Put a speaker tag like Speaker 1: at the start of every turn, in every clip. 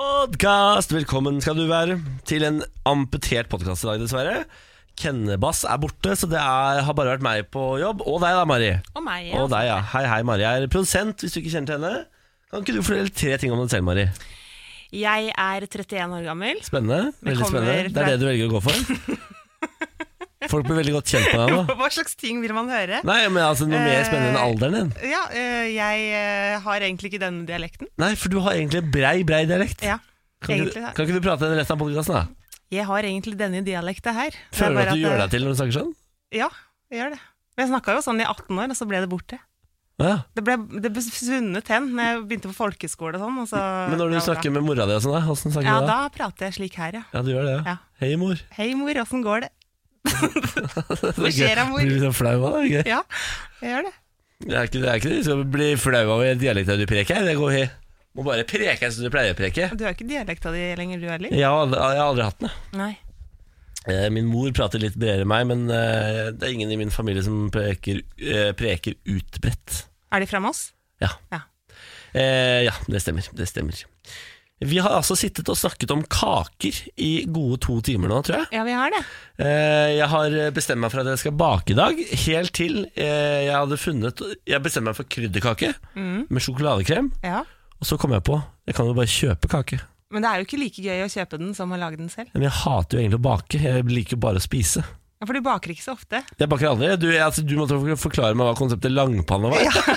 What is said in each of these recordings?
Speaker 1: Podcast! Velkommen skal du være til en amputert podcast i dag, dessverre. Kennebass er borte, så det er, har bare vært meg på jobb. Og deg da, Mari.
Speaker 2: Og meg.
Speaker 1: Og deg, ja. Hei, hei, Mari. Jeg er produsent, hvis du ikke kjenner til henne. Kan ikke du fortelle tre ting om deg selv, Mari?
Speaker 2: Jeg er 31 år gammel.
Speaker 1: Spennende. Veldig
Speaker 2: kommer
Speaker 1: spennende. Det
Speaker 2: fra-
Speaker 1: er det du velger å gå for? Folk blir veldig godt kjent med deg nå.
Speaker 2: Hva slags ting vil man høre?
Speaker 1: Nei, men altså noe mer
Speaker 2: Eh,
Speaker 1: spennende enn alderen din.
Speaker 2: Ja, eh, jeg eh, har egentlig ikke denne dialekten.
Speaker 1: Nei, for du har egentlig brei, brei dialekt.
Speaker 2: Ja,
Speaker 1: kan, ikke,
Speaker 2: egentlig,
Speaker 1: du-
Speaker 2: ja.
Speaker 1: kan ikke du prate resten av podkasten, da?
Speaker 2: Jeg har egentlig denne dialekten her. Det er
Speaker 1: Føler du
Speaker 2: bare
Speaker 1: at du gjør
Speaker 2: eh,
Speaker 1: deg til når du snakker sånn?
Speaker 2: Ja, jeg gjør det. Men jeg snakka jo sånn i 18 år, og så ble det borte.
Speaker 1: Ja.
Speaker 2: Det ble, det ble svunnet hen når jeg begynte på folkeskole og sånn. Og så,
Speaker 1: Men når du
Speaker 2: ja,
Speaker 1: snakker med mora di og sånn, da, åssen
Speaker 2: da,
Speaker 1: snakker
Speaker 2: ja,
Speaker 1: du da?
Speaker 2: da prater jeg slik her, ja.
Speaker 1: Ja, du gjør det, ja.
Speaker 2: Ja.
Speaker 1: Hei, mor.
Speaker 2: Hei, mor, åssen går det? Hva skjer da, mor?
Speaker 1: Blir du så flau av det? ikke?
Speaker 2: Ja, jeg gjør det.
Speaker 1: Det er ikke det, er ikke det. du skal bli flau av i dialekten du preker. Det går helt Må bare preke som du pleier å preke.
Speaker 2: Du har ikke dialekta di lenger, du heller?
Speaker 1: Jeg har aldri, jeg har aldri hatt den. jeg.
Speaker 2: Nei.
Speaker 1: Eh, Min mor prater litt bredere enn meg, men eh, det er ingen i min familie som preker, eh, preker utbredt.
Speaker 2: Er de fra Moss?
Speaker 1: Ja.
Speaker 2: Ja.
Speaker 1: Eh, ja, det stemmer. Det stemmer. Vi har altså sittet og snakket om kaker i gode to timer nå, tror jeg.
Speaker 2: Ja, vi har det.
Speaker 1: Eh, jeg har bestemt meg for at jeg skal bake i dag, helt til eh, jeg hadde funnet Jeg bestemte meg for krydderkake
Speaker 2: Mm.
Speaker 1: med sjokoladekrem,
Speaker 2: Ja.
Speaker 1: og så kom jeg på Jeg kan jo bare kjøpe kake.
Speaker 2: Men det er jo ikke like gøy å kjøpe den som å lage den selv.
Speaker 1: Men jeg hater jo egentlig å bake. Jeg liker jo bare å spise.
Speaker 2: Ja, For du baker ikke så ofte.
Speaker 1: Jeg baker aldri. Du, jeg, altså, du måtte forklare meg hva konseptet langpanne var.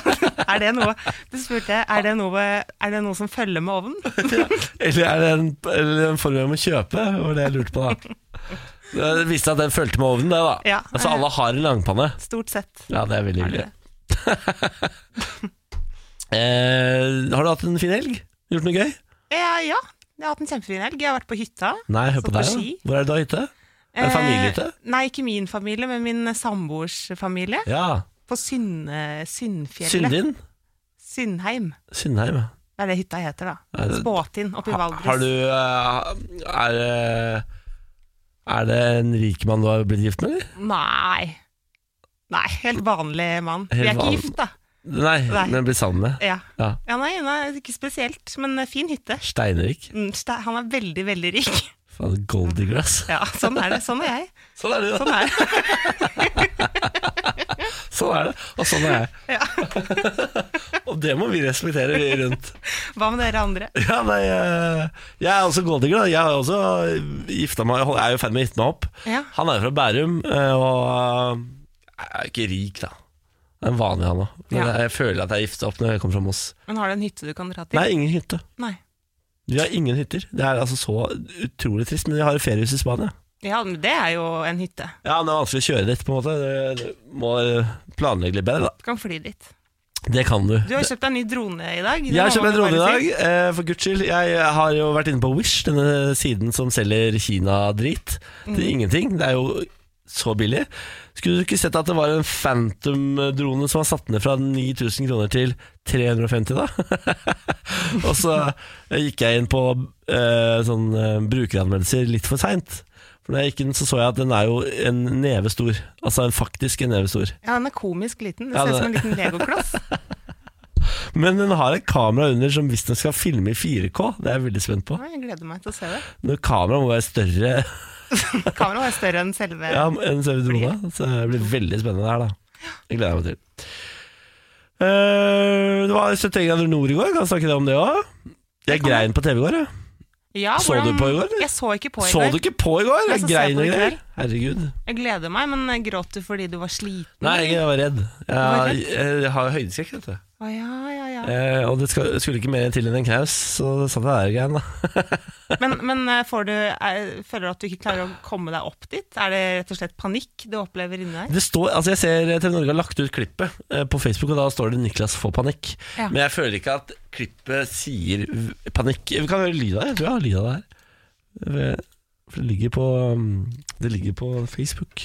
Speaker 2: Er det noe Du spurte er det noe, er det noe som følger med ovnen?
Speaker 1: Eller er det en, eller en form jeg må kjøpe? var det jeg lurte på da. Det viste at den fulgte med ovnen, det da.
Speaker 2: Ja.
Speaker 1: Altså alle har en langpanne.
Speaker 2: Stort sett.
Speaker 1: Ja, det er veldig
Speaker 2: Er det
Speaker 1: hyggelig. eh, har du hatt en fin helg? Gjort noe gøy?
Speaker 2: Ja, ja. Jeg har hatt en kjempefin helg. Jeg har vært på hytta.
Speaker 1: Nei, hør
Speaker 2: Så
Speaker 1: på
Speaker 2: på
Speaker 1: deg.
Speaker 2: ski?
Speaker 1: da. Hvor er det da hytte? Er det
Speaker 2: Eh,
Speaker 1: familiehytte?
Speaker 2: Nei, ikke min familie, men min samboers familie.
Speaker 1: Ja.
Speaker 2: På Synne, Synnfjellet.
Speaker 1: Syndin?
Speaker 2: Synnheim.
Speaker 1: Syndheim, ja.
Speaker 2: Det er det hytta heter,
Speaker 1: Er
Speaker 2: da.
Speaker 1: det-
Speaker 2: Spåtind oppe i
Speaker 1: Ha-
Speaker 2: Valdres.
Speaker 1: Har du eh, Er det er det en rik mann du har blitt gift med, eller?
Speaker 2: Nei. Nei, helt vanlig mann. Vi er
Speaker 1: Helt
Speaker 2: ikke
Speaker 1: vanlig.
Speaker 2: gift, da.
Speaker 1: Nei,
Speaker 2: Nei.
Speaker 1: men blitt sammen med.
Speaker 2: Ja.
Speaker 1: Ja.
Speaker 2: ja, nei, nei, ikke spesielt, men fin hytte.
Speaker 1: Steinrik.
Speaker 2: Mm, Ste- Han er veldig, veldig rik.
Speaker 1: Faen, Goldigler, ass.
Speaker 2: Ja, sånn er det. Sånn er jeg.
Speaker 1: Sånn er det, da.
Speaker 2: Sånn er det.
Speaker 1: Sånn er det, og sånn er jeg.
Speaker 2: Ja.
Speaker 1: Og det må vi respektere vi rundt.
Speaker 2: Hva med dere andre?
Speaker 1: Ja, nei, eh, jeg er også golddigger, da. Jeg er, også gifta meg, jeg er jo i ferd med å gifte meg opp.
Speaker 2: Ja.
Speaker 1: Han er jo fra Bærum, eh, og eh, jeg er ikke rik, da. Det er en vanlig han òg. Men
Speaker 2: Ja.
Speaker 1: jeg føler at jeg er gifta opp når jeg kommer fra Moss.
Speaker 2: Men har du en hytte du kan dra til?
Speaker 1: Nei, ingen hytte.
Speaker 2: Nei.
Speaker 1: Vi har ingen hytter. Det er altså så utrolig trist, men vi har et feriehus i Spania.
Speaker 2: Ja, men det er jo en hytte.
Speaker 1: Ja, men Det er vanskelig å kjøre dit, på en måte. Du du må planlegge litt bedre,
Speaker 2: Du kan fly dit.
Speaker 1: da. Det kan du.
Speaker 2: Du har kjøpt deg en ny drone i dag. det
Speaker 1: Jeg har
Speaker 2: må
Speaker 1: kjøpt en
Speaker 2: man
Speaker 1: drone i
Speaker 2: bare
Speaker 1: dag,
Speaker 2: si.
Speaker 1: eh, for guds skyld. Jeg har jo vært inne på Wish, denne siden som selger Kina-drit. Til
Speaker 2: Mhm.
Speaker 1: ingenting. Det er jo så billig. Skulle du ikke sett at det var en Phantom-drone som var satt ned fra 9000 kroner til 350, da? Og så gikk jeg inn på eh, sånn eh, brukeranmeldelser litt for seint. For når jeg gikk inn, så så jeg at den er jo en neve stor. Altså en faktisk en neve stor.
Speaker 2: Ja, den er komisk liten. Det
Speaker 1: Ja,
Speaker 2: ser ut
Speaker 1: det-
Speaker 2: som en liten legokloss.
Speaker 1: Men den har et kamera under som visstnok skal filme i 4K. Det er jeg veldig spent på.
Speaker 2: Nei, Jeg gleder meg til å se det.
Speaker 1: Når kameraet må være større
Speaker 2: Kameraet er større enn selve
Speaker 1: ja, enn selve drona, så det blir veldig spennende her, da. Jeg gleder meg til. Eh, det var 71 grader nord i går, kan vi snakke om det òg? Jeg
Speaker 2: kan
Speaker 1: grein på TV i går, jeg.
Speaker 2: Ja,
Speaker 1: Så du på i går, eller?
Speaker 2: Jeg så ikke på i
Speaker 1: Så du
Speaker 2: går.
Speaker 1: ikke på i går?
Speaker 2: Jeg
Speaker 1: Jeg
Speaker 2: så
Speaker 1: grein
Speaker 2: på
Speaker 1: og
Speaker 2: i
Speaker 1: greier.
Speaker 2: går.
Speaker 1: Herregud.
Speaker 2: Jeg gleder meg, men eh, gråt du fordi du var sliten?
Speaker 1: Nei, jeg var redd.
Speaker 2: var
Speaker 1: Jeg, jeg har høydeskrekk, vet du.
Speaker 2: Å, ja, ja, ja.
Speaker 1: Eh, og det skal, skulle ikke mer til enn en knaus, så satt jeg der og grein, da.
Speaker 2: Men, men eh, får du, er, føler du at du ikke klarer å komme deg opp dit? Er det rett og slett panikk du opplever inni deg?
Speaker 1: Det står, altså jeg ser TV Norge har lagt ut klippet eh, på Facebook, og da står det 'Niklas får panikk'.
Speaker 2: Ja.
Speaker 1: Men jeg føler ikke at klippet sier v- panikk. Vi kan høre lyd av det. Jeg tror jeg har lyd av det her. Eh, For det ligger på, um, det ligger på Facebook.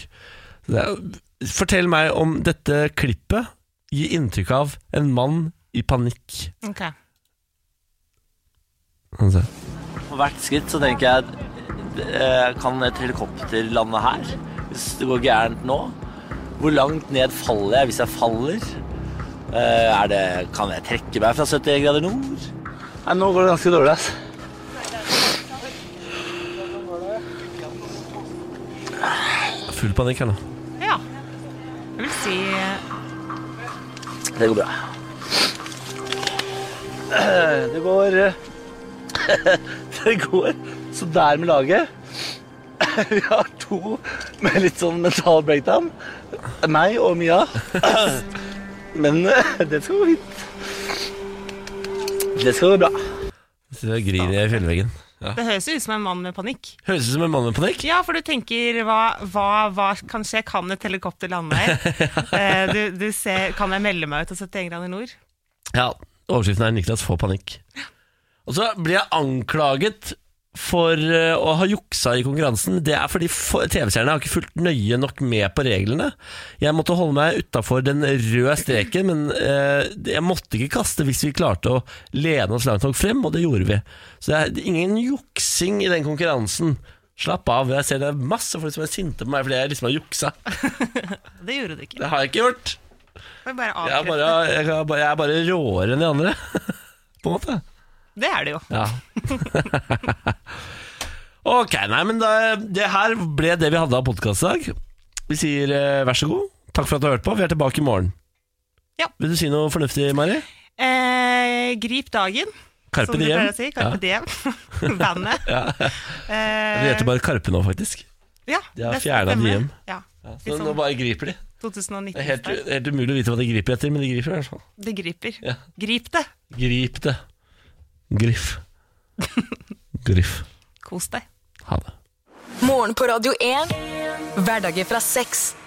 Speaker 1: Så Det er, fortell meg om dette klippet gir inntrykk av en mann i panikk.
Speaker 2: Ok.
Speaker 1: Altså. På hvert skritt så tenker jeg eh, Kan et helikopter lande her? Hvis det går gærent nå? Hvor langt ned faller jeg hvis jeg faller? Eh, Er det, kan jeg trekke meg fra 70 grader nord? Nei, nå går det ganske dårlig, ass. Full panikk her nå.
Speaker 2: Ja. Jeg vil si
Speaker 3: Det går bra. Det går eh, Det går så der med laget. Vi har to med litt sånn mental breakdown. Meg og Mia. Men eh, det skal gå fint. Det skal gå bra.
Speaker 1: Sitter og grir i fjellveggen.
Speaker 2: Det høres jo ut som en mann med panikk.
Speaker 1: Høres ut som en mann med panikk.
Speaker 2: Ja, for du tenker hva, hva, hva kan skje? Kan et helikopter lande her? Eh, du, du ser, kan jeg melde meg ut og 70 grader nord?
Speaker 1: Ja, overskriften er Niklas får panikk. Og så blir jeg anklaget for eh, å ha juksa i konkurransen. Det er fordi for- TV-seerne har ikke fulgt nøye nok med på reglene. Jeg måtte holde meg utafor den røde streken, men eh, jeg måtte ikke kaste hvis vi klarte å lene oss langt nok frem, og det gjorde vi. Så det er ingen juksing i den konkurransen. Slapp av. Jeg ser det er masse folk som er sinte på meg fordi jeg liksom har juksa.
Speaker 2: Det gjorde du ikke.
Speaker 1: Det har jeg ikke gjort.
Speaker 2: Det er
Speaker 1: Jeg
Speaker 2: bare
Speaker 1: er
Speaker 2: avkreftet.
Speaker 1: bare, jeg er bare, jeg er bare råere enn de andre, på en måte.
Speaker 2: Det er det jo.
Speaker 1: Ja. ok, nei, men da, det her ble det vi hadde av podkast i dag. Vi sier eh, vær så god. Takk for at du har hørt på. Vi er tilbake i morgen.
Speaker 2: Ja.
Speaker 1: Vil du si noe fornuftig, Mari?
Speaker 2: Eh, grip dagen,
Speaker 1: Carpe
Speaker 2: som du pleier
Speaker 1: diem.
Speaker 2: å si. Carpe diem. Bandet.
Speaker 1: Ja. Det
Speaker 2: Eh,
Speaker 1: heter bare Karpe nå, faktisk.
Speaker 2: ja,
Speaker 1: De har
Speaker 2: det
Speaker 1: fjernet
Speaker 2: stemmer.
Speaker 1: diem.
Speaker 2: Ja.
Speaker 1: Så
Speaker 2: Litt
Speaker 1: nå
Speaker 2: sånn
Speaker 1: bare griper de. Det er helt,
Speaker 2: 2019.
Speaker 1: helt umulig å vite hva de griper etter, men de griper i hvert fall.
Speaker 2: Det griper.
Speaker 1: Ja.
Speaker 2: Grip det.
Speaker 1: Grip det. Griff. Griff.
Speaker 2: Kos deg.
Speaker 1: Ha det.
Speaker 4: Morgen på Radio 1. Hverdager fra seks.